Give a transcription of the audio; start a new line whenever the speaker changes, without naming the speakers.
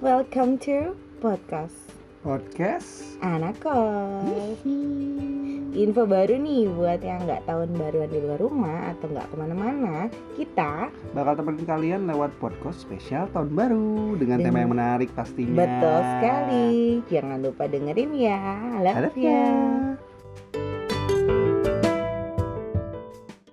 Welcome to podcast
podcast
anak kos. Info baru nih buat yang nggak tahun baruan di luar rumah atau nggak kemana-mana, kita
bakal temenin kalian lewat podcast spesial tahun baru dengan tema
Dengan- Iya.
yang menarik pastinya.
betul sekali. Jangan lupa dengerin ya. I love,
Ada
ya.